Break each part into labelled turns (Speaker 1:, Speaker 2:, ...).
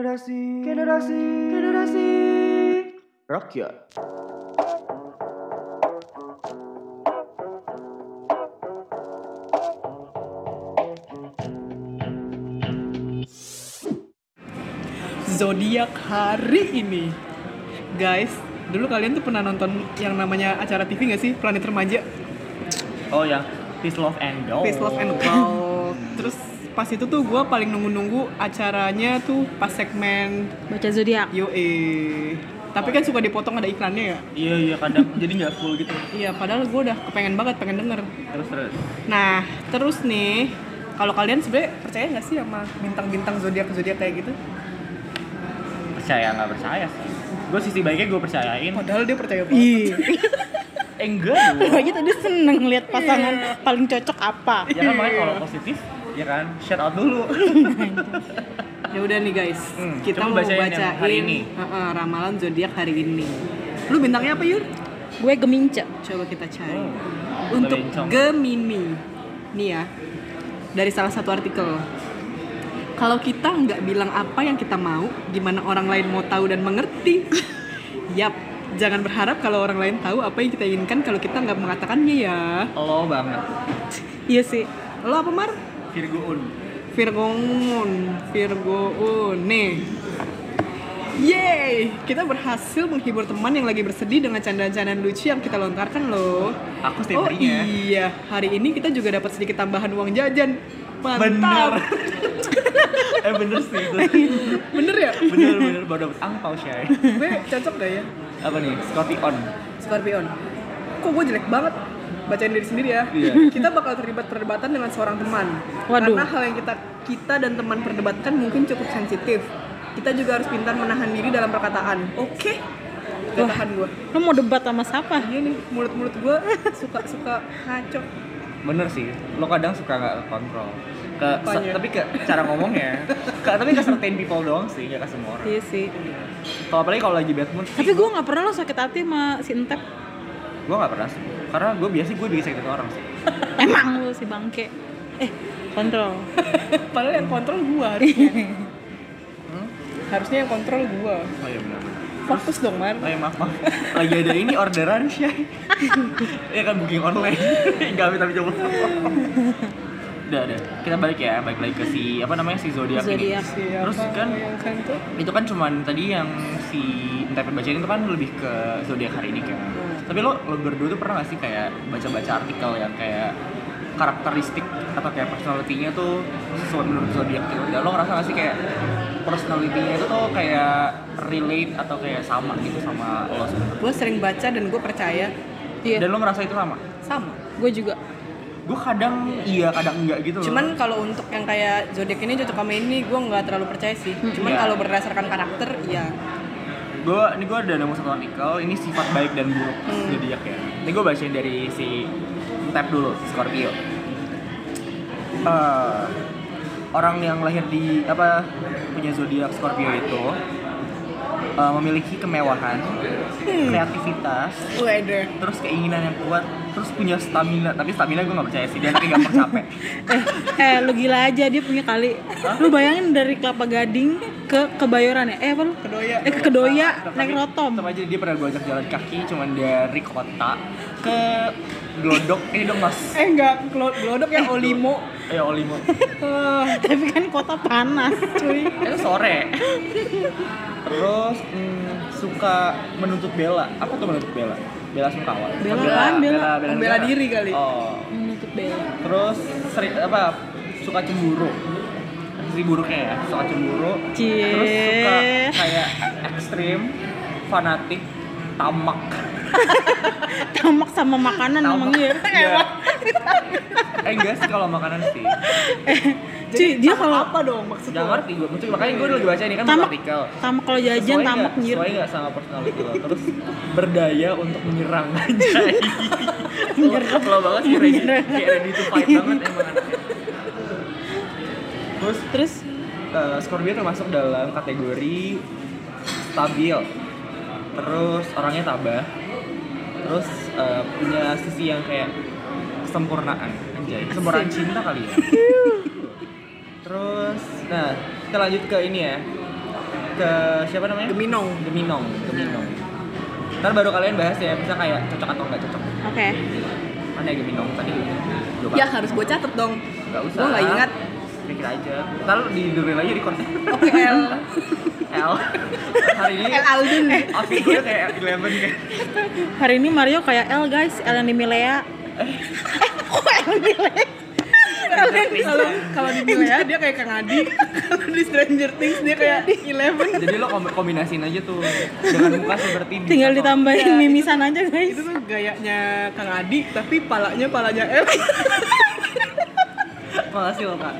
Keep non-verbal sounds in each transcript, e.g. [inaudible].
Speaker 1: Generasi, generasi, generasi rakyat.
Speaker 2: zodiak hari ini. Guys, dulu kalian tuh pernah nonton yang namanya acara TV gak sih? Planet Remaja,
Speaker 3: Oh ya, Peace Love and Go.
Speaker 2: Face Love and Wow. Terus pas itu tuh gue paling nunggu-nunggu acaranya tuh pas segmen
Speaker 4: baca [laughs] zodiak
Speaker 2: UA. Tapi kan suka dipotong ada iklannya ya.
Speaker 3: Iya iya kadang jadi nggak full gitu.
Speaker 2: Iya, padahal gue udah kepengen banget pengen denger.
Speaker 3: Terus terus.
Speaker 2: Nah, terus nih, kalau kalian sebenarnya percaya nggak sih sama bintang-bintang zodiak-zodiak kayak gitu?
Speaker 3: Percaya nggak percaya sih. Gue sisi baiknya gue percayain.
Speaker 2: Padahal dia percaya banget.
Speaker 3: Eh [laughs] enggak
Speaker 4: Lu
Speaker 3: dong.
Speaker 4: aja tadi Iya, seneng lihat pasangan paling cocok apa
Speaker 3: ya kan makanya kalau positif ya kan shout out [laughs] dulu.
Speaker 2: Ya udah nih guys,
Speaker 3: Hmm,
Speaker 2: kita
Speaker 3: coba
Speaker 2: mau
Speaker 3: bacain yang
Speaker 2: bacain
Speaker 3: hari ini.
Speaker 2: Heeh, ramalan zodiak hari ini. Lu bintangnya apa Yur?
Speaker 4: gue gemince
Speaker 2: Coba kita cari.
Speaker 3: Oh,
Speaker 2: Untuk
Speaker 3: belencong.
Speaker 2: Gemini, nih ya dari salah satu artikel. Kalau kita nggak bilang apa yang kita mau, gimana orang lain mau tahu dan mengerti? [laughs] Yap, jangan berharap kalau orang lain tahu apa yang kita inginkan kalau kita nggak mengatakannya ya.
Speaker 3: Lo banget.
Speaker 2: Iya sih. Lo apa Mar?
Speaker 3: Virgo Un.
Speaker 2: Virgoon, Virgoon, nih. Yeay, kita berhasil menghibur teman yang lagi bersedih dengan candaan-candaan lucu yang kita lontarkan loh.
Speaker 3: Aku
Speaker 2: Oh
Speaker 3: setiapnya.
Speaker 2: iya, hari ini kita juga dapat sedikit tambahan uang jajan.
Speaker 3: bener.
Speaker 2: Mantap.
Speaker 3: eh bener sih itu.
Speaker 2: Bener, ya?
Speaker 3: [laughs] bener bener baru dapet angpau shay.
Speaker 2: Gue cocok gak ya?
Speaker 3: Apa nih? Scorpion.
Speaker 2: Scorpion. Kok gue jelek banget? Bacain diri sendiri ya.
Speaker 3: Iya.
Speaker 2: [laughs] Kita bakal terlibat perdebatan dengan seorang teman.
Speaker 4: Waduh.
Speaker 2: Karena hal yang kita kita dan teman perdebatkan mungkin cukup sensitif. Kita juga harus pintar menahan diri dalam perkataan. Oke. Gak tahan gue.
Speaker 4: lo mau debat sama siapa
Speaker 2: Iya nih, mulut-mulut gue [laughs] suka-suka ngaco.
Speaker 3: Bener sih. Lo kadang suka nggak kontrol. Ke, se-
Speaker 2: Apanya?
Speaker 3: tapi ke cara ngomongnya, ke, tapi ke certain people doang sih, nggak ke semua orang.
Speaker 4: iya sih
Speaker 3: Kalau apalagi kalau lagi bad mood,
Speaker 4: tapi gue nggak pernah lo sakit hati sama si entep
Speaker 3: gue nggak pernah sih karena gue biasa gue bikin sakit hati orang sih
Speaker 4: emang lo si bangke eh kontrol
Speaker 2: [laughs] Padahal yang kontrol gue harusnya. harusnya yang kontrol gue.
Speaker 3: oh iya benar
Speaker 2: Fokus dong, Mar.
Speaker 3: oh iya maaf maaf lagi ada ini orderan sih ya kan booking online [laughs] nggak minta minta udah udah kita balik ya balik lagi ke si apa namanya si zodiak ini
Speaker 4: Zodiak.
Speaker 2: Siapa
Speaker 3: Terus kan-
Speaker 2: yang kantor?
Speaker 3: itu kan cuman tadi yang si entah yang bacain itu kan lebih ke zodiak hari ini kan tapi lo lo berdua tuh pernah gak sih kayak baca baca artikel yang kayak karakteristik atau kayak personalitinya tuh sesuai menurut zodiak gitu dan lo ngerasa gak sih kayak personalitinya itu tuh kayak relate atau kayak sama gitu sama lo semua
Speaker 2: gue sering baca dan gue percaya
Speaker 3: dan
Speaker 4: iya
Speaker 3: lo ngerasa itu sama
Speaker 2: sama
Speaker 4: gue juga
Speaker 3: gue kadang iya kadang enggak gitu loh.
Speaker 2: cuman kalau untuk yang kayak zodiak ini cocok sama ini gue nggak terlalu percaya sih cuman
Speaker 3: Iya.
Speaker 2: kalau berdasarkan karakter ya
Speaker 3: gue ini gue ada nemu satu artikel ini sifat baik dan buruk
Speaker 4: Hmm.
Speaker 3: zodiak ya ini gue bacain dari si tab dulu Scorpio Eh, orang yang lahir di apa punya zodiak Scorpio itu eh, memiliki kemewahan
Speaker 4: Hmm.
Speaker 3: kreativitas
Speaker 2: weather
Speaker 3: terus keinginan yang kuat terus punya stamina tapi stamina gue nggak percaya sih dia nanti gampang capek
Speaker 4: [laughs] eh eh lu gila aja dia punya kali lu bayangin dari kelapa gading ke kebayoran ya eh apa lu
Speaker 2: Kedoya.
Speaker 4: eh ke kedoya
Speaker 3: Tetap
Speaker 4: naik
Speaker 3: aja-
Speaker 4: rotom
Speaker 3: tetap aja dia pernah gue ajak jalan kaki cuman dari kota ke Glodok ini dong mas
Speaker 2: eh enggak glodok yang ya? olimo
Speaker 3: Eh Olimo.
Speaker 4: tapi kan kota panas cuy
Speaker 3: Itu sore. Terus mm, suka menuntut bela. Apa tuh menuntut bela? Bela sungkawa.
Speaker 4: Bela kan, bela.
Speaker 2: Membela
Speaker 3: negara.
Speaker 2: diri kali.
Speaker 3: Oh.
Speaker 4: menutup bel
Speaker 3: Terus seri, apa? Suka cemburu. Si buruknya ya, suka cemburu.
Speaker 4: Cie.
Speaker 3: Terus suka kayak ekstrim, fanatik, tamak.
Speaker 4: tamak sama makanan
Speaker 3: Tamak.
Speaker 4: emang ya
Speaker 3: Iya. eh enggak sih kalau makanan sih.
Speaker 4: cuy dia kalau
Speaker 2: apa dong maksudnya
Speaker 3: Jangan ngerti gue. Makanya gue lagi baca ini kan buku
Speaker 4: tamak
Speaker 3: artikel.
Speaker 4: tamak kalau jajan
Speaker 3: Sesuai
Speaker 4: tamak
Speaker 3: nggak-
Speaker 4: nyir
Speaker 3: sesuai nggak sama personality lo terus berdaya untuk menyerang
Speaker 4: [laughs]
Speaker 3: aja menyerang lo banget sih ready kayak ready to fight banget emang anaknya. terus
Speaker 4: terus
Speaker 3: eh, Scorpio termasuk dalam kategori stabil terus orangnya tabah terus eh, punya sisi yang kayak kesempurnaan anjay kesempurnaan
Speaker 4: [laughs]
Speaker 3: cinta kali ya terus nah kita lanjut ke ini ya ke siapa namanya?
Speaker 2: Geminong.
Speaker 3: Geminong, Geminong. Ntar baru kalian bahas ya, bisa kayak cocok atau nggak cocok.
Speaker 4: Oke.
Speaker 3: Mana ya Geminong tadi? Lupa.
Speaker 2: Ya harus gue catet dong.
Speaker 3: Nggak usah.
Speaker 2: Gue nggak ingat.
Speaker 3: Pikir aja. Ntar di durian aja di konten.
Speaker 2: Oke [laughs] L. Iya.
Speaker 3: L. Hari ini
Speaker 2: L Aldin nih.
Speaker 3: outfit gue kayak Eleven kan.
Speaker 4: Hari ini Mario kayak L guys, L yang di Milea. Eh, kok L Milea?
Speaker 2: Kalau kalau di Milea eh, ya, dia kayak Kang Adi. [laughs] Kalau di Stranger Things dia kayak Eleven.
Speaker 3: Jadi lo kom- kombinasiin aja tuh dengan muka seperti di
Speaker 4: Tinggal
Speaker 3: foto.
Speaker 4: ditambahin mimisan aja guys.
Speaker 2: Itu tuh gayanya Kang Adi tapi palanya palanya [laughs] L.
Speaker 3: Makasih lo kak.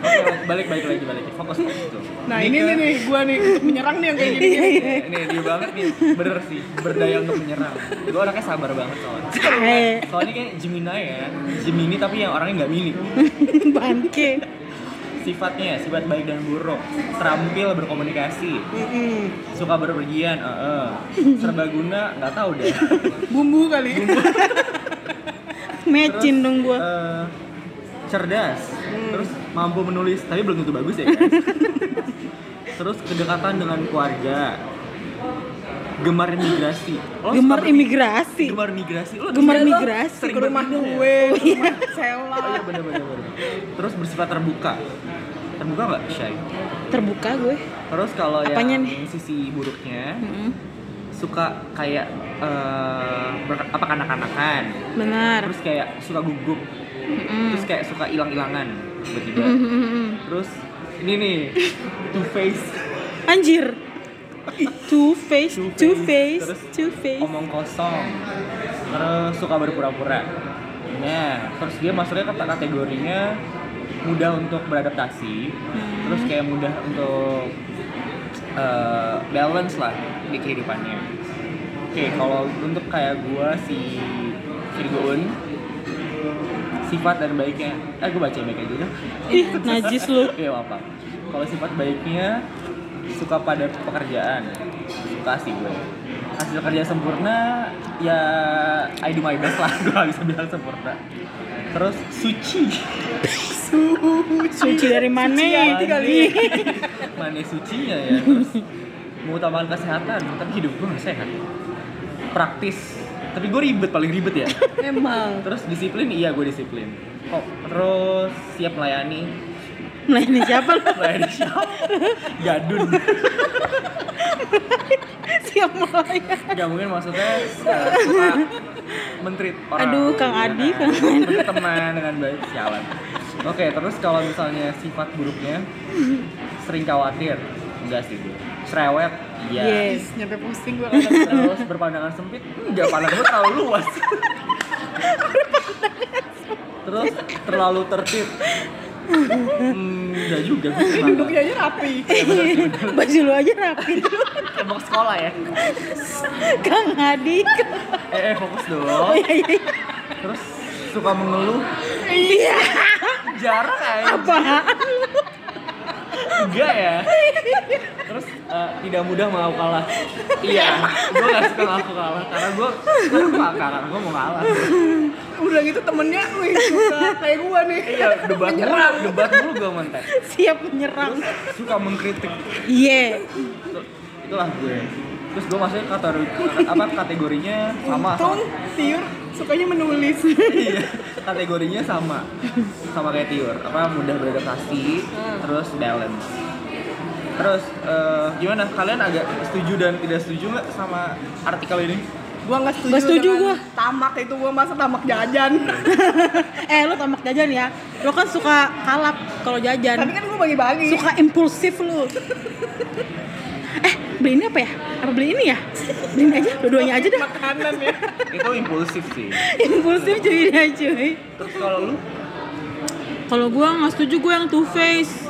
Speaker 3: Oke, balik balik lagi balik fokus fokus tuh.
Speaker 2: Nah ini nih nih gue nih untuk menyerang nih yang kayak gini.
Speaker 3: Ini dia banget nih, bener sih, berdaya untuk menyerang. Gue orangnya sabar banget soalnya. [laughs]
Speaker 4: Eh,
Speaker 3: Soalnya kayak Gemini ya, Gemini tapi yang orangnya nggak milik.
Speaker 4: bangke.
Speaker 3: Sifatnya, ya, sifat baik dan buruk, terampil berkomunikasi,
Speaker 2: Mm-mm.
Speaker 3: suka berpergian, heeh. serbaguna nggak tahu deh.
Speaker 2: Bumbu kali.
Speaker 4: Mecin dong gua.
Speaker 3: Eh, cerdas,
Speaker 2: Mm.
Speaker 3: terus mampu menulis, tapi belum tentu bagus ya guys. terus kedekatan dengan keluarga, gemar migrasi. Lo suka
Speaker 4: Gemar
Speaker 3: bermi-
Speaker 4: imigrasi.
Speaker 3: Gemar migrasi. Lo
Speaker 4: Gemar
Speaker 3: lo
Speaker 4: migrasi.
Speaker 3: sering
Speaker 2: Ke rumah
Speaker 3: berpindah ya?
Speaker 2: gue, ke rumah Sela.
Speaker 3: Oh iya bener bener bener. Terus bersifat terbuka. Terbuka nggak shy?
Speaker 4: Terbuka gue.
Speaker 3: Terus kalau
Speaker 4: Apanya
Speaker 3: yang
Speaker 4: nih?
Speaker 3: sisi buruknya
Speaker 4: Mm-mm.
Speaker 3: suka kayak eh, ber- apa kanak-kanakan.
Speaker 4: Benar.
Speaker 3: Terus kayak suka gugup.
Speaker 4: Mm-mm. Mm-hmm.
Speaker 3: Terus kayak suka hilang-hilangan tiba-tiba.
Speaker 4: Mm-mm.
Speaker 3: Terus ini nih [laughs] two face,
Speaker 4: Anjir. Two face,
Speaker 3: Two
Speaker 4: two
Speaker 3: face.
Speaker 4: face,
Speaker 3: Terus
Speaker 4: two face.
Speaker 3: omong kosong. Terus suka berpura-pura. Nah, terus dia masuknya ke kategorinya mudah untuk beradaptasi, terus kayak mudah untuk eh, balance lah di kehidupannya. Oke, kalau untuk kayak gua si Virgoon sifat dan baiknya, eh gua baca baik aja deh.
Speaker 4: Ih, najis lu.
Speaker 3: Iya apa? Kalau sifat baiknya suka pada pekerjaan, suka sih gue. Hasil kerja sempurna, ya I do my best lah. [laughs] Gue gak bisa bilang sempurna. Terus suci,
Speaker 4: Suci dari mana?
Speaker 3: Suci kali. [laughs] mana sucinya ya? Terus mengutamakan kesehatan, tapi hidup gue gak sehat. Praktis, tapi gue ribet paling ribet ya.
Speaker 2: Emang.
Speaker 3: Terus disiplin, iya gue disiplin. Kok terus siap melayani,
Speaker 4: Nah, ini siapa lu?
Speaker 3: melayani siapa? Gadun.
Speaker 4: Siap melayani.
Speaker 3: Gak mungkin maksudnya uh, suka menteri orang.
Speaker 4: Aduh, Kang
Speaker 3: Iya
Speaker 4: Adi,
Speaker 3: kan?
Speaker 4: Kang Adi.
Speaker 3: Berteman dengan baik, sialan. Oke, terus kalau misalnya sifat buruknya sering khawatir, enggak sih gue. Cerewet, iya.
Speaker 4: Yes.
Speaker 2: Nyampe posting gue
Speaker 3: Terus berpandangan sempit, enggak pandang gue terlalu luas. Terus terlalu tertib. Hmm, enggak juga gue
Speaker 2: Ini
Speaker 3: kenapa.
Speaker 2: duduknya aja rapi.
Speaker 4: Baju lu aja rapi. [laughs]
Speaker 3: Emang sekolah ya?
Speaker 4: Kang Adi.
Speaker 3: Eh, eh fokus
Speaker 4: Oh,
Speaker 3: dong. Terus suka mengeluh,
Speaker 4: Iya.
Speaker 3: jarang aja.
Speaker 4: Apaan?
Speaker 3: enggak ya terus eh, tidak mudah mau kalah [laughs] iya gue gak suka ngaku kalah karena gue karena karena gue mau kalah
Speaker 2: Udah gitu temennya, wih suka kayak gue nih.
Speaker 3: iya debat mulu
Speaker 2: Menyerang.
Speaker 3: debat mulu gue mantan
Speaker 4: Siap menyerang.
Speaker 3: suka mengkritik
Speaker 4: Iya. [laughs]
Speaker 3: Itu- itulah gue terus gue masuk kategori apa kategorinya sama sama.
Speaker 2: Untung Tiur sukanya menulis.
Speaker 3: iya kategorinya sama sama kayak Tiur apa mudah beradaptasi
Speaker 4: Hmm.
Speaker 3: terus balance terus eh, gimana kalian agak setuju dan tidak setuju nggak sama artikel ini
Speaker 2: Gua nggak setuju.
Speaker 4: Nggak setuju
Speaker 2: dengan
Speaker 4: gua.
Speaker 2: Tamak itu gua masa tamak jajan.
Speaker 4: Eh, lu tamak jajan ya. Lu kan suka kalap kalau jajan.
Speaker 2: Tapi kan gua bagi-bagi.
Speaker 4: suka impulsif lu eh beli ini apa ya apa beli ini ya beli ini aja dua-duanya aja dah [laughs]
Speaker 2: makanan ya.
Speaker 3: itu impulsif sih
Speaker 4: impulsif cuy dia cuy
Speaker 3: Terus kalau lu
Speaker 4: kalau gua nggak setuju gua yang two face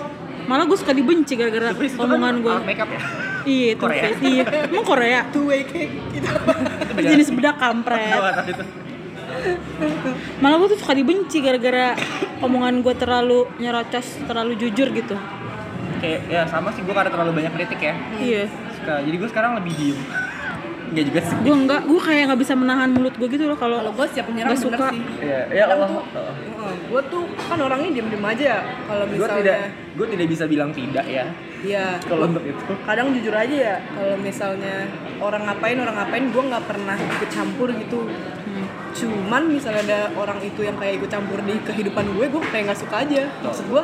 Speaker 4: malah gua suka dibenci gara-gara
Speaker 3: Surprise itu
Speaker 4: omongan
Speaker 3: kan
Speaker 4: gua
Speaker 3: alat makeup ya?
Speaker 4: iya two
Speaker 3: Korea.
Speaker 4: face iya emang
Speaker 3: [laughs]
Speaker 4: Korea
Speaker 2: Two way cake itu apa?
Speaker 3: Itu beda.
Speaker 4: jenis bedak
Speaker 3: Gua
Speaker 4: kampret
Speaker 3: nggak tahu Iya, itu.
Speaker 4: malah gua tuh suka dibenci gara-gara omongan gua terlalu nyerocos terlalu jujur gitu
Speaker 3: Hmm. Kayak ya sama sih gua karena terlalu banyak kritik ya.
Speaker 4: iya
Speaker 3: Suka. Jadi gua sekarang lebih diem. Enggak juga sih.
Speaker 4: gua nggak gua kayak nggak bisa menahan mulut gua gitu loh
Speaker 2: Kalau
Speaker 4: kalau
Speaker 2: gua siap menyerang
Speaker 4: Nggak
Speaker 2: bener
Speaker 4: suka.
Speaker 2: sih.
Speaker 3: Ya, ya Allah.
Speaker 2: Kadang tuh,
Speaker 3: Oh.
Speaker 2: heeh, gua tuh kan orangnya diem-diem aja. Kalau
Speaker 3: Gua tidak
Speaker 2: misalnya
Speaker 3: gua tidak bisa bilang tidak ya.
Speaker 2: Iya.
Speaker 3: kalau untuk itu
Speaker 2: kadang jujur aja ya kalau misalnya orang ngapain orang ngapain gue nggak pernah ikut campur gitu cuman misalnya ada orang itu yang kayak ikut campur di kehidupan gue gue kayak nggak suka aja maksud gue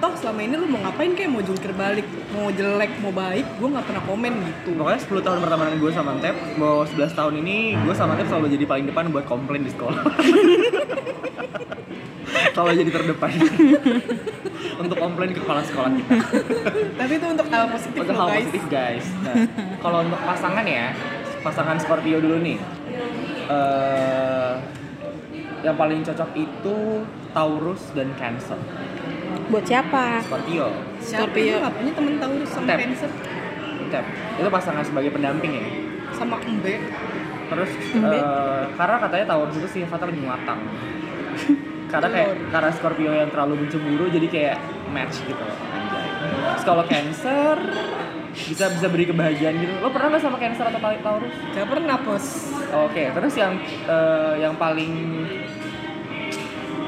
Speaker 2: toh selama ini lu mau ngapain kayak mau jungkir balik mau jelek mau baik gue nggak pernah komen gitu
Speaker 3: Pokoknya 10 tahun pertemanan gue sama Antep, mau 11 tahun ini gue sama Antep selalu jadi paling depan buat komplain di sekolah. [laughs] selalu jadi terdepan. [laughs] Untuk komplain ke kepala sekolah kita.
Speaker 2: tapi itu untuk hal positif
Speaker 3: Untuk
Speaker 2: lo
Speaker 3: hal
Speaker 2: guys
Speaker 3: positif guys. Nah, kalau untuk pasangan ya, pasangan Scorpio dulu nih. Eh, yang paling cocok itu Taurus dan Cancer.
Speaker 4: Buat siapa?
Speaker 3: Scorpio,
Speaker 2: siapa
Speaker 4: Scorpio.
Speaker 3: ya-
Speaker 2: yang nggak punya temen tahu sama
Speaker 3: Tep.
Speaker 2: cancer
Speaker 3: Antep. Itu pasangan sebagai pendamping ya.
Speaker 2: sama embe
Speaker 3: terus
Speaker 4: Embe.
Speaker 3: eh, karena katanya Taurus itu sifatnya lebih matang karena kayak karena Scorpio yang terlalu mencemburu jadi kayak match gitu anjay terus kalau Cancer bisa bisa beri kebahagiaan gitu lo pernah nggak sama Cancer atau Tau- Taurus
Speaker 2: gak pernah pos
Speaker 3: oke terus yang eh, yang paling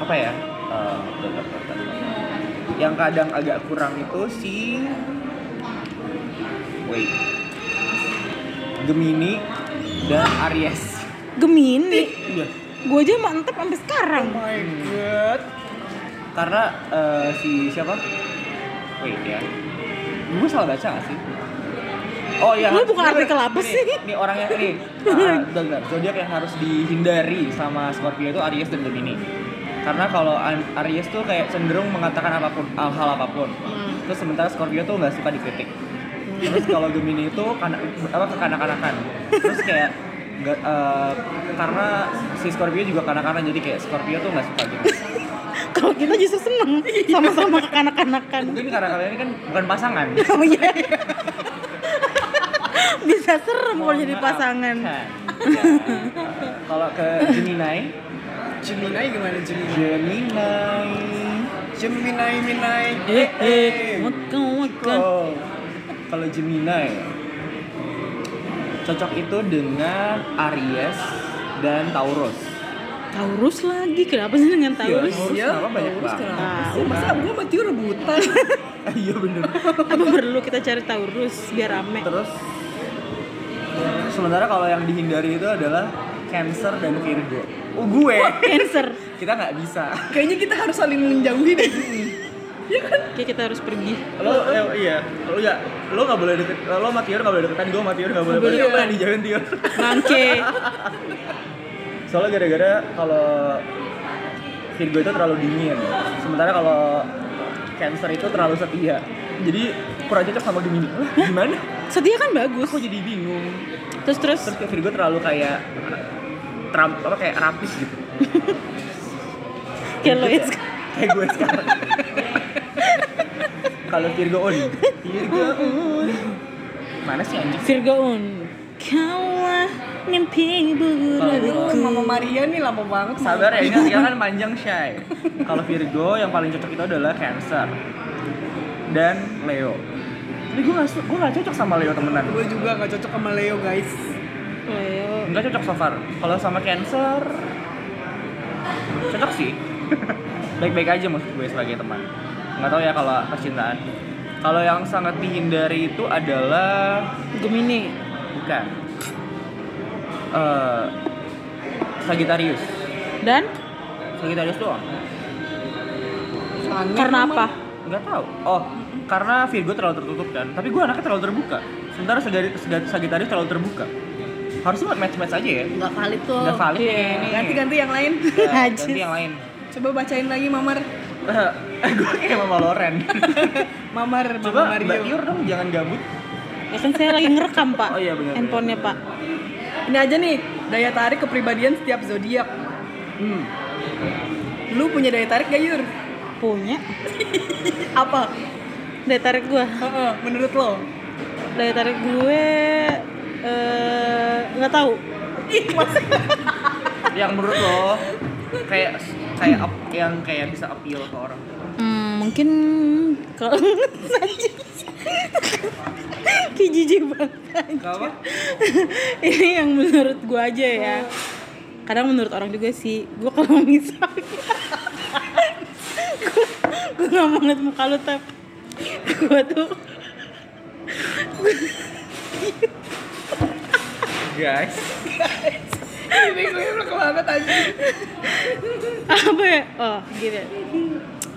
Speaker 3: apa ya Eh, bentar, bentar, bentar. yang kadang agak kurang itu si wait Gemini dan Aries
Speaker 4: Gemini.
Speaker 3: Iya.
Speaker 4: Gue aja mantep sampai sekarang.
Speaker 3: Karena eh, si siapa? Wait ya. Gue salah baca gak sih? Oh iya.
Speaker 4: Lu
Speaker 3: harus-
Speaker 4: bukan artikel apa
Speaker 3: nih,
Speaker 4: sih?
Speaker 3: Nih orang yang
Speaker 4: [laughs]
Speaker 3: ini. Ah, bentar, bentar. Zodiak yang harus dihindari sama Scorpio itu Aries dan Gemini. Karena kalau An- Aries tuh kayak cenderung mengatakan apapun hal, hal apapun.
Speaker 4: Hmm.
Speaker 3: Terus sementara Scorpio tuh nggak suka dikritik. Terus kalau Gemini itu kana, apa kekanak-kanakan. Terus kayak nggak, eh, karena si Scorpio juga kanak-kanak jadi kayak Scorpio tuh nggak suka gitu.
Speaker 4: Kalau kita justru seneng sama-sama kekanak-kanakan.
Speaker 3: Mungkin karena kalian ini kan bukan
Speaker 4: [laughs]
Speaker 3: pasangan.
Speaker 4: Oh iya. Bisa serem kalau jadi
Speaker 3: Maaf,
Speaker 4: pasangan.
Speaker 3: kan. Ya.
Speaker 4: [laughs]
Speaker 3: Kalau ke Gemini,
Speaker 2: Gemini gimana Gemini
Speaker 3: Gemini.
Speaker 2: Gemini Minai
Speaker 4: Eh, eh, makan, makan.
Speaker 3: Oh. Kalau Gemini cocok itu dengan Aries dan Taurus.
Speaker 4: Taurus lagi, kenapa sih dengan Taurus?
Speaker 3: Taurus
Speaker 2: Iya,
Speaker 3: kenapa banyak
Speaker 2: Taurus
Speaker 3: banget? Nah,
Speaker 2: kenapa
Speaker 4: Tahu,
Speaker 2: sih? Masa gue mati rebutan? [laughs]
Speaker 3: Iya bener.
Speaker 4: Apa perlu kita cari Taurus biar rame?
Speaker 3: [laughs] Terus sementara kalau yang dihindari itu adalah Cancer dan Virgo. Oh, gue.
Speaker 4: Cancer.
Speaker 3: Kita nggak bisa.
Speaker 2: Kayaknya kita harus saling menjauhi deh.
Speaker 3: [laughs]
Speaker 4: Oke, kita harus pergi.
Speaker 3: lo eh, iya lo ya lo nggak boleh deket lo sama Tior nggak boleh deketan gue sama Tior nggak boleh
Speaker 4: Nggak boleh.
Speaker 3: deketan dijauhin Tior
Speaker 4: Bangke.
Speaker 3: soalnya gara-gara kalau Virgo itu terlalu dingin sementara kalau Cancer itu terlalu setia jadi kurang cocok sama Gemini Lah, gimana
Speaker 4: Setia kan bagus.
Speaker 3: aku jadi bingung
Speaker 4: Terus terus
Speaker 3: terus kayak Virgo terlalu kayak Trump apa kayak rapis gitu
Speaker 4: kayak lo ya.
Speaker 3: Kayak- kayak gue sekarang kalau Virgo on Virgo on mana sih anjing
Speaker 4: Virgoon. Kaulah mimpi
Speaker 3: Kalau-
Speaker 4: burukku.
Speaker 2: Mama Maria nih lama banget.
Speaker 3: Sabar ya, ini artikel kan panjang Shay Kalau Virgo yang paling cocok itu adalah Cancer Dan Leo Tapi gue gak, su- gua gak cocok sama Leo temenan
Speaker 2: Gue juga gak cocok sama Leo guys.
Speaker 4: Leo.
Speaker 3: Gak cocok so far Kalau sama Cancer Cocok sih Baik-baik aja maksud gue sebagai teman Gak tau ya kalau percintaan Kalau yang sangat dihindari itu adalah
Speaker 4: Gemini.
Speaker 3: Bukan Eh, Sagittarius
Speaker 4: Dan
Speaker 3: Sagittarius doang
Speaker 2: Sangat
Speaker 4: karena
Speaker 2: aman.
Speaker 4: apa?
Speaker 3: nggak tahu oh karena Virgo terlalu tertutup kan tapi gue anaknya terlalu terbuka sementara Sagari- Saga- Sagittarius terlalu terbuka harusnya buat match match aja ya
Speaker 2: Gak valid tuh.
Speaker 3: nggak valid
Speaker 4: iya.
Speaker 3: nih.
Speaker 2: Ganti-ganti yang lain. [laughs]
Speaker 4: [laughs]
Speaker 3: Ya, ganti
Speaker 4: Najis.
Speaker 3: yang [laughs] lain
Speaker 2: Coba bacain lagi Mamar.
Speaker 3: gue Eh, kayak mama [laughs] Loren
Speaker 2: Mamar,
Speaker 3: coba
Speaker 2: Mama
Speaker 3: Mbak
Speaker 2: Mario.
Speaker 3: Tiur dong jangan gabut
Speaker 4: Ya kan saya lagi ngerekam, Pak.
Speaker 3: Oh iya, benar,
Speaker 4: Handphonenya, Pak.
Speaker 2: Ini aja nih, daya tarik kepribadian setiap zodiak.
Speaker 3: hmm.
Speaker 2: Lu punya daya tarik gak Yur?
Speaker 4: Punya [laughs]
Speaker 2: Apa?
Speaker 4: daya tarik gue.
Speaker 2: Heeh, menurut lo?
Speaker 4: Daya tarik gue eh, nggak tahu.
Speaker 3: yang menurut lo kayak kayak ap- yang kayak bisa appeal ke orang
Speaker 4: Hmm, mungkin kalau [laughs] Ki jijik banget.
Speaker 3: Gak apa
Speaker 4: [laughs] Ini yang menurut gue aja ya. Kadang menurut orang juga sih. Gue kalau [laughs] misalnya gue nggak mau ngeliat muka lu tapi gue tuh
Speaker 3: Guys. Ini gue berkelanat aja.
Speaker 4: apa ya oh gitu ya.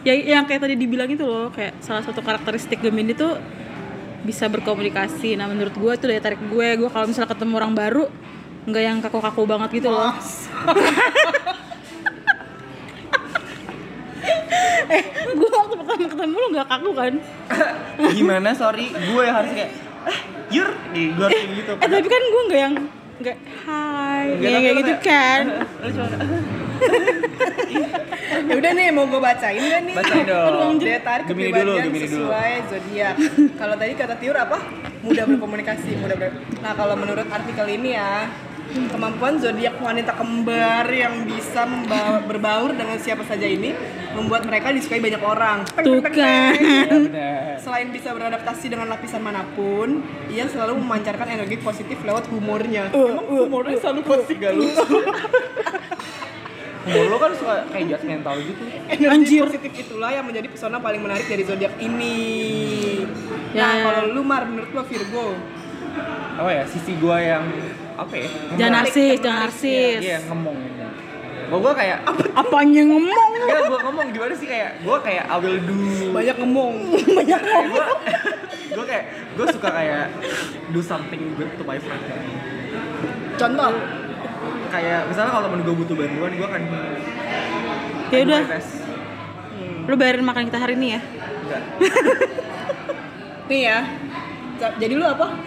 Speaker 4: ya yang kayak tadi dibilang itu loh kayak salah satu karakteristik Gemini tuh bisa berkomunikasi nah menurut gue itu daya tarik gue gue kalau misalnya ketemu orang baru nggak yang kaku-kaku banget gitu loh [laughs] eh gue waktu pertama ketemu lu nggak kaku kan
Speaker 3: Gimana sorry, gue yang harus kayak "Ah, Yur, nih gue harus kayak gitu.
Speaker 4: eh tapi kan gue nggak yang nggak hai
Speaker 3: Nggak,
Speaker 4: kayak
Speaker 3: tapi
Speaker 4: kayak
Speaker 3: lu
Speaker 4: gitu
Speaker 3: kayak- [laughs]
Speaker 4: kan
Speaker 3: Lu cuma
Speaker 2: ya udah nih mau gue bacain gak nih
Speaker 3: bacain dong.
Speaker 2: Daya tarik
Speaker 3: Gemini dulu,
Speaker 2: kepribadian
Speaker 3: Gemini dulu.
Speaker 2: sesuai zodiak. kalau tadi kata Tiur apa? Mudah berkomunikasi, mudah ber... Nah, kalau menurut artikel ini ya, kemampuan zodiak wanita kembar yang bisa membawa, berbaur dengan siapa saja ini membuat mereka disukai banyak orang. Teng,
Speaker 4: tuh
Speaker 2: teng, teng, teng.
Speaker 4: kan
Speaker 3: Iya, bener.
Speaker 2: Selain bisa beradaptasi dengan lapisan manapun, ia selalu memancarkan energi positif lewat humornya. Emang humornya selalu positif gak lucu.
Speaker 3: Umur lo kan suka kayak judgmental gitu.
Speaker 2: Energi positif itulah yang menjadi pesona paling menarik dari zodiak ini. Nah,
Speaker 4: Ya.
Speaker 2: kalau lu Mar, menurut lu Virgo,
Speaker 3: Apa ya, sisi gue yang apa ya?
Speaker 4: jangan
Speaker 3: menarik.
Speaker 4: narsis jangan narsis
Speaker 3: Iya, ngomong. Gue gue kayak apa?
Speaker 4: apanya ngomong
Speaker 3: Ya gue ngomong gimana sih kayak gue kayak I will do
Speaker 2: banyak
Speaker 4: [laughs]
Speaker 2: ngomong. banyak
Speaker 3: gue gue kayak gue suka kayak do something good to my friend
Speaker 2: Contoh,
Speaker 3: kayak misalnya kalau temen gue butuh bantuan gue akan
Speaker 4: ya udah
Speaker 3: tes
Speaker 4: lu bayarin makan kita hari ini ya
Speaker 3: enggak
Speaker 2: nih ya. Ca- Jadi lu apa?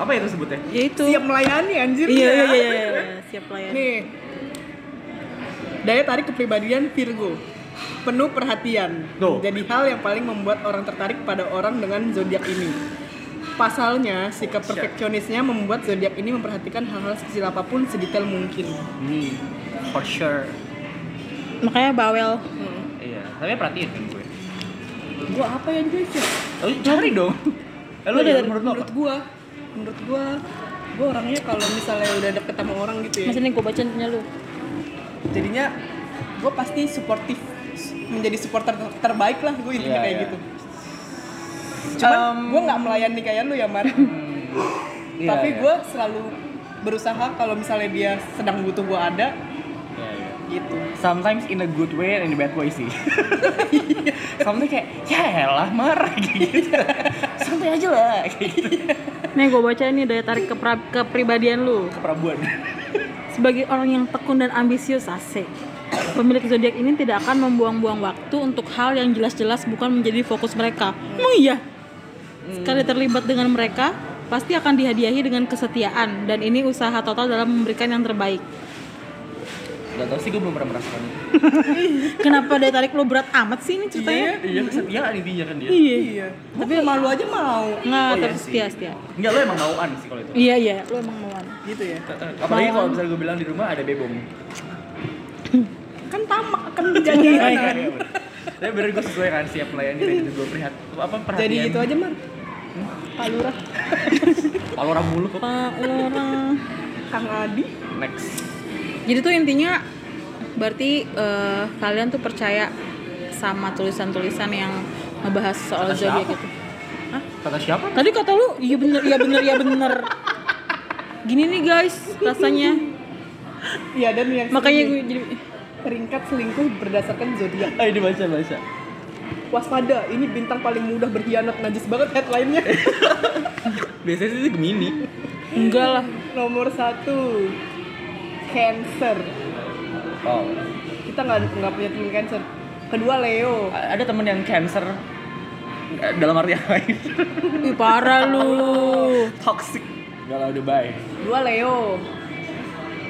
Speaker 3: apa itu sebutnya
Speaker 4: ya itu
Speaker 2: Siap melayani anjir. ya.
Speaker 4: iya iya iya iya, iya. siap layan
Speaker 2: Nih. Daya tarik kepribadian Virgo. Penuh perhatian.
Speaker 3: Tuh.
Speaker 2: Jadi hal yang paling membuat orang tertarik pada orang dengan zodiak ini. Pasalnya, sikap
Speaker 3: Siap.
Speaker 2: perfeksionisnya membuat zodiak ini memperhatikan hal-hal sekecil apapun sedetail mungkin.
Speaker 3: me for sure
Speaker 4: makanya bawel
Speaker 3: iya tapi perhatiin kan gue
Speaker 2: Gua apa ya guys ya?
Speaker 3: Lu cari dong Eh, lu
Speaker 4: Lu-
Speaker 3: menurut lo apa?
Speaker 2: menurut gua menurut gua gua orangnya kalau misalnya udah deket sama orang gitu ya
Speaker 4: Mas ini gue bacain punya lu
Speaker 2: jadinya gua pasti suportif menjadi supporter ter- terbaik lah gua intinya
Speaker 3: Iya,
Speaker 2: kayak
Speaker 3: iya.
Speaker 2: gitu cuman
Speaker 3: Um,
Speaker 2: gua nggak melayani kayak lu ya Mar
Speaker 3: Iya,
Speaker 2: tapi
Speaker 3: iya.
Speaker 2: gua selalu berusaha kalau misalnya dia sedang butuh gua ada
Speaker 3: Iya, iya.
Speaker 2: gitu
Speaker 3: Sometimes in a good way and in a bad way sih. [laughs] Iya. Sometimes kayak ya elah marah [laughs] gitu. Santai aja lah kayak gitu.
Speaker 4: Nih gue baca ini daya tarik kepra- kepribadian lu
Speaker 3: Keperabuan.
Speaker 4: Sebagai orang yang tekun dan ambisius asik Pemilik zodiak ini tidak akan membuang-buang waktu untuk hal yang jelas-jelas bukan menjadi fokus mereka. Emang iya? Sekali
Speaker 3: Hmm.
Speaker 4: terlibat dengan mereka, pasti akan dihadiahi dengan kesetiaan dan ini usaha total dalam memberikan yang terbaik.
Speaker 3: Gak tau sih gue belum pernah merasakan.
Speaker 4: Kenapa daya tarik lu berat amat sih ini ceritanya?
Speaker 3: [laughs] Iya, kesetiaan intinya kan dia.
Speaker 4: Iya.
Speaker 2: iya tapi malu aja mau
Speaker 4: Nggak,
Speaker 3: Oh, iya
Speaker 4: tapi
Speaker 3: sih.
Speaker 4: setia, setia.
Speaker 3: Enggak, lo emang mauan sih kalau itu.
Speaker 4: Iya, iya, lu emang mauan.
Speaker 2: gitu ya
Speaker 3: Apalagi kalau misalnya gue bilang di rumah ada [laughs] bebong.
Speaker 2: kan tamak [laughs] kan jajanan
Speaker 3: Tapi Iya, bener gue sesuai kan siap melayani dan itu gue prihat apa perhatian.
Speaker 2: jadi itu aja Mar Pak Lurah
Speaker 3: Kalau orang mulu kok.
Speaker 4: Pak Lurah.
Speaker 2: Kang Adi
Speaker 3: Next.
Speaker 4: Jadi tuh intinya berarti eh, kalian tuh percaya sama tulisan-tulisan yang ngebahas soal
Speaker 3: Kata
Speaker 4: zodiak
Speaker 3: siapa?
Speaker 4: gitu.
Speaker 3: Kata siapa?
Speaker 4: Tadi kata lu iya bener iya bener iya bener. Gini nih guys rasanya.
Speaker 2: Iya dan yang
Speaker 4: Makanya
Speaker 2: sini,
Speaker 4: gue jadi
Speaker 2: peringkat selingkuh berdasarkan zodiak.
Speaker 3: Ayo dibaca baca.
Speaker 2: Waspada, ini bintang paling mudah berkhianat najis banget headline-nya. [laughs]
Speaker 3: Biasanya sih Gemini.
Speaker 4: enggak lah.
Speaker 2: Nomor satu, Cancer.
Speaker 3: Oh.
Speaker 2: Kita nggak nggak punya temen Cancer. Kedua Leo.
Speaker 3: A- Ada temen yang cancer Eh, dalam arti yang lain.
Speaker 4: Ih parah lu.
Speaker 3: [laughs] Toxic. Gak lah udah bye.
Speaker 2: Dua Leo.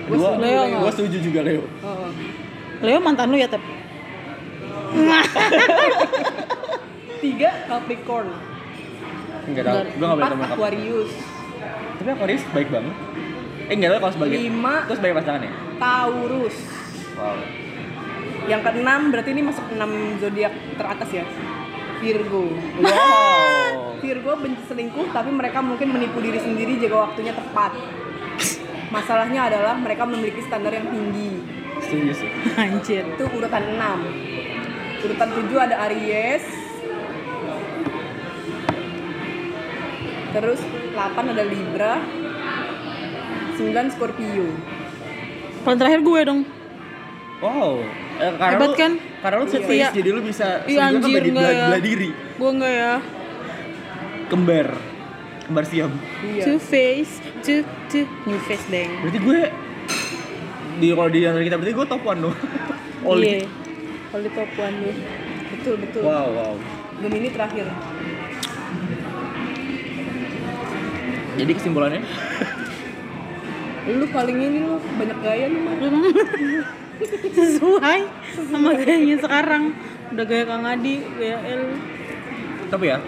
Speaker 2: Gua
Speaker 3: Dua,
Speaker 2: setuju,
Speaker 4: Leo.
Speaker 3: gue setuju juga Leo.
Speaker 2: Oh.
Speaker 4: Leo mantan lu ya tep. [laughs]
Speaker 2: Tiga Capricorn.
Speaker 3: Enggak tahu. Gue gak boleh temen
Speaker 2: Empat
Speaker 3: kamu.
Speaker 2: Aquarius.
Speaker 3: Tapi Aquarius baik banget. Eh enggak tahu kalau sebagai
Speaker 2: Lima
Speaker 3: Terus sebagai pasangan ya?
Speaker 2: Taurus.
Speaker 3: Wow.
Speaker 2: Yang keenam berarti ini masuk enam zodiak teratas ya. Virgo.
Speaker 3: Wow.
Speaker 2: Virgo benci selingkuh tapi mereka mungkin menipu diri sendiri jika waktunya tepat. Masalahnya adalah mereka memiliki standar yang tinggi.
Speaker 3: Setuju sih.
Speaker 4: Anjir.
Speaker 2: Itu urutan 6. Urutan 7 ada Aries. Terus 8 ada Libra. 9 Scorpio.
Speaker 4: Paling terakhir gue dong.
Speaker 3: Wow. Eh, karena
Speaker 4: Hebat
Speaker 3: lu-
Speaker 4: kan?
Speaker 3: Karena lu
Speaker 4: Iya.
Speaker 3: setia, jadi lu bisa
Speaker 4: Iya
Speaker 3: sendiri
Speaker 4: anjir
Speaker 3: bagi
Speaker 4: enggak
Speaker 3: belah,
Speaker 4: ya.
Speaker 3: belah diri.
Speaker 4: Gue enggak ya.
Speaker 3: Kembar. Kembar siam.
Speaker 4: Two
Speaker 2: Iya.
Speaker 4: face, two two new face deng.
Speaker 3: Berarti gue di kalau di antara kita berarti gue top 1 dong. [laughs] Oli.
Speaker 4: Iya. Oli Papuan lu.
Speaker 2: Betul,
Speaker 4: Iya.
Speaker 2: betul.
Speaker 3: Wow, wow.
Speaker 2: Gemini terakhir.
Speaker 3: Jadi kesimpulannya
Speaker 2: Lu paling ini lu banyak gaya lu mah.
Speaker 4: Sesuai sama gayanya sekarang. Udah gaya Kang Adi, gaya El.
Speaker 3: tapi ya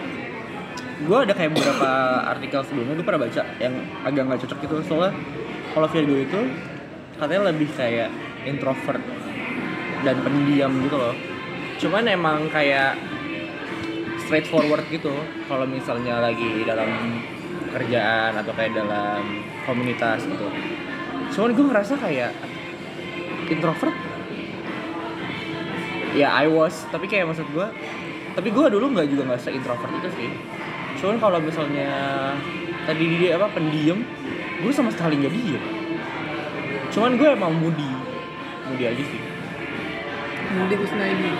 Speaker 3: gue ada kayak beberapa artikel sebelumnya gue pernah baca yang agak nggak cocok gitu soalnya kalau Virgo itu katanya lebih kayak introvert dan pendiam gitu loh cuman emang kayak straightforward gitu kalau misalnya lagi dalam kerjaan atau kayak dalam komunitas gitu cuman gue ngerasa kayak introvert ya I was tapi kayak maksud gue tapi gue dulu nggak juga nggak se introvert itu sih cuman kalau misalnya tadi dia apa pendiam gue sama sekali nggak diem cuman gue emang moody moody aja sih
Speaker 2: Budi Kusnaidi.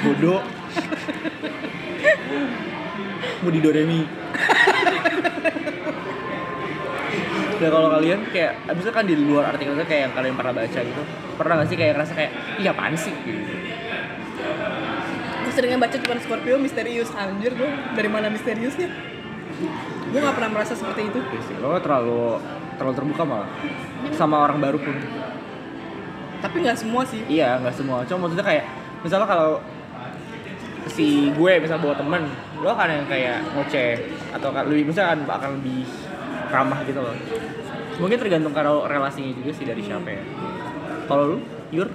Speaker 3: bodoh moody doremi Nah kalau kalian kayak, abisnya kan di luar artikel itu kayak yang kalian pernah baca gitu Pernah gak sih kayak ngerasa kayak, iya apaan sih? Gitu.
Speaker 2: Gue seringnya baca cuma Scorpio misterius anjir gue. Dari mana misteriusnya? Gue gak pernah merasa seperti itu.
Speaker 3: Iya sih, lo terlalu terlalu terbuka malah sama orang baru pun
Speaker 2: Tapi nggak semua sih.
Speaker 3: iya nggak semua cuma maksudnya kayak misalnya kalau si gue misalnya bawa temen lo akan yang kayak ngoceh atau kan lebih misalnya akan, akan lebih ramah gitu loh mungkin tergantung kalau relasinya juga sih dari siapa ya kalau lu yur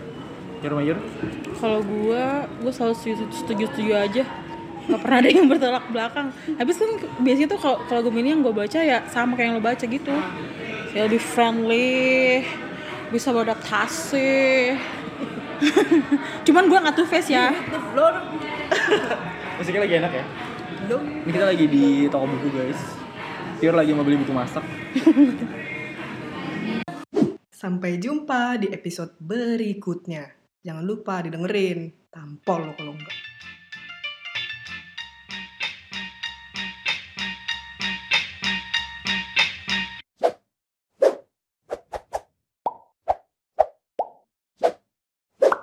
Speaker 3: yur mayur
Speaker 4: Kalau gue, gue selalu setuju-setuju aja. Gak pernah ada yang bertolak belakang. Habis kan biasanya tuh kalau kalau Gemini yang gue baca ya sama kayak yang lo baca gitu. Ya lebih friendly, bisa beradaptasi. [laughs] Cuman gue nggak two face ya.
Speaker 3: musiknya lagi enak ya
Speaker 2: Dong.
Speaker 3: ini kita lagi di toko buku guys yur lagi mau beli buku masak
Speaker 2: Sampai jumpa di episode berikutnya. Jangan lupa didengerin. Tampol lo kalau enggak.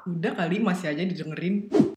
Speaker 2: Udah kali masih aja didengerin.